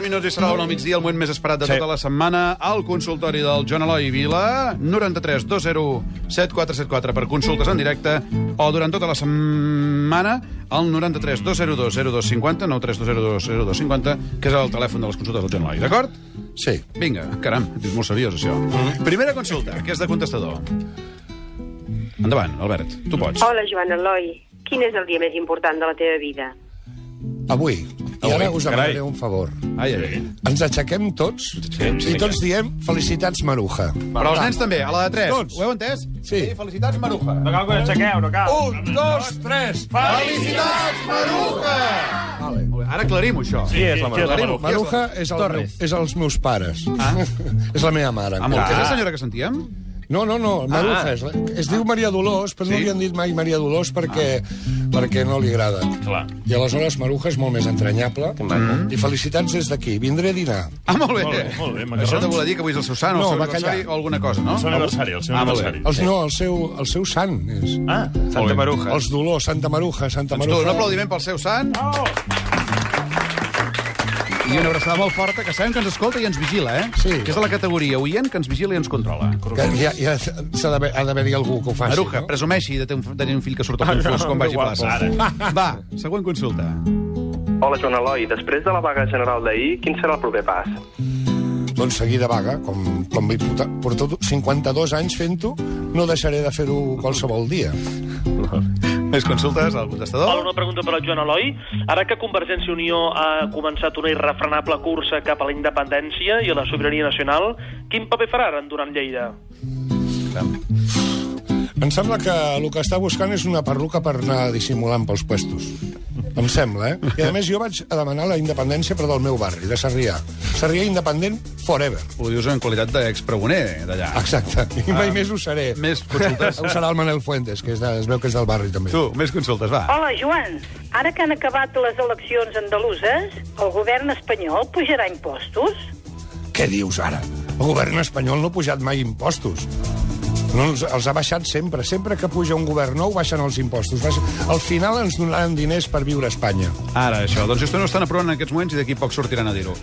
minuts i serà la una al migdia, el moment més esperat de Sí. tota la setmana, al consultori del Joan Eloi Vila, 93 201 7474 per consultes en directe, o durant tota la setmana, al 93 202 0250, 93 202 0250, que és el telèfon de les consultes del Joan Eloi, d'acord? Sí. Vinga, caram, és molt seriós, això. Mm-hmm. Primera consulta, que és de contestador. Endavant, Albert, tu pots. Hola, Joan Eloi. Quin és el dia més important de la teva vida? Avui. I ara Avui, us demanaré carai. un favor. Ai, ai, ai. Ens aixequem tots i tots diem felicitats, Maruja. Però els nens també, a la de 3. Tots. Ho heu entès? Sí. felicitats, Maruja. No cal que ho aixequeu, no cal. Un, dos, tres. Felicitats, Maruja! Vale. Molt bé, Ara aclarim això. Qui és la Maruja? Maruja. Maruja és, el meu, és els meus pares. Ah. és la meva mare. Amb el que és la Ah. senyora que sentíem? No, no, no, Maruja. Ah. És la, es diu Maria Dolors, però sí? no Sí? li han dit mai Maria Dolors perquè, ah. perquè no li agrada. Clar. I aleshores Maruja és molt més entranyable. Mm. I felicitats des d'aquí. Vindré a dinar. Ah, molt bé. Molt bé, molt bé, macarrons. Això t'ho volia dir que avui és el Susana, el No, seu va aniversari callar. o alguna cosa, no? El seu aniversari, el seu Ah, molt bé. aniversari. Els, no, el seu, el seu sant és. Ah, Santa Maruja. Els Dolors, Santa Maruja, Santa Doncs tu, un Maruja. aplaudiment pel seu sant Oh, i una abraçada molt forta, que sabem que ens escolta i ens vigila, eh? Sí. Que és de la categoria oient que ens vigila i ens controla. Que ja, ja s'ha d'haver- ha d'haver-hi algú que ho faci. Maruja, no? presumeixi de tenir un- tenir un fill que surt a confús quan vagi a guapo. plaça. Va, següent consulta. Hola, Joan Eloi. Després de la vaga general d'ahir, quin serà el proper pas? Doncs seguir de vaga, com, com vull portar, porto 52 anys fent-ho, no deixaré de fer-ho qualsevol dia. Més consultes al Hola, contestador? una pregunta per al Joan Eloi. Ara que Convergència i Unió ha començat una irrefrenable cursa cap a la independència i a la sobirania nacional, quin paper farà Arandona amb Lleida? Em sembla que el que està buscant és una perruca per anar dissimulant pels puestos. Em sembla, eh? I a més jo vaig a demanar la independència però del meu barri, de Sarrià. Sarrià independent forever. Ho dius en qualitat d'expregoner d'allà. Exacte. I mai més ho seré. Ah, Més consultes. Ho serà el Manel Fuentes, que és de, es veu que és del barri també. Tu, més consultes, va. Hola, Joan. Ara que han acabat les eleccions andaluses, el govern espanyol pujarà impostos? Què dius ara? El govern espanyol no ha pujat mai impostos. No, els, els ha baixat sempre. Sempre que puja un govern nou, baixen els impostos. Baixen... Al final ens donaran diners per viure a Espanya. Ara, això. Doncs això no ho estan aprovant en aquests moments i d'aquí poc sortiran a dir-ho.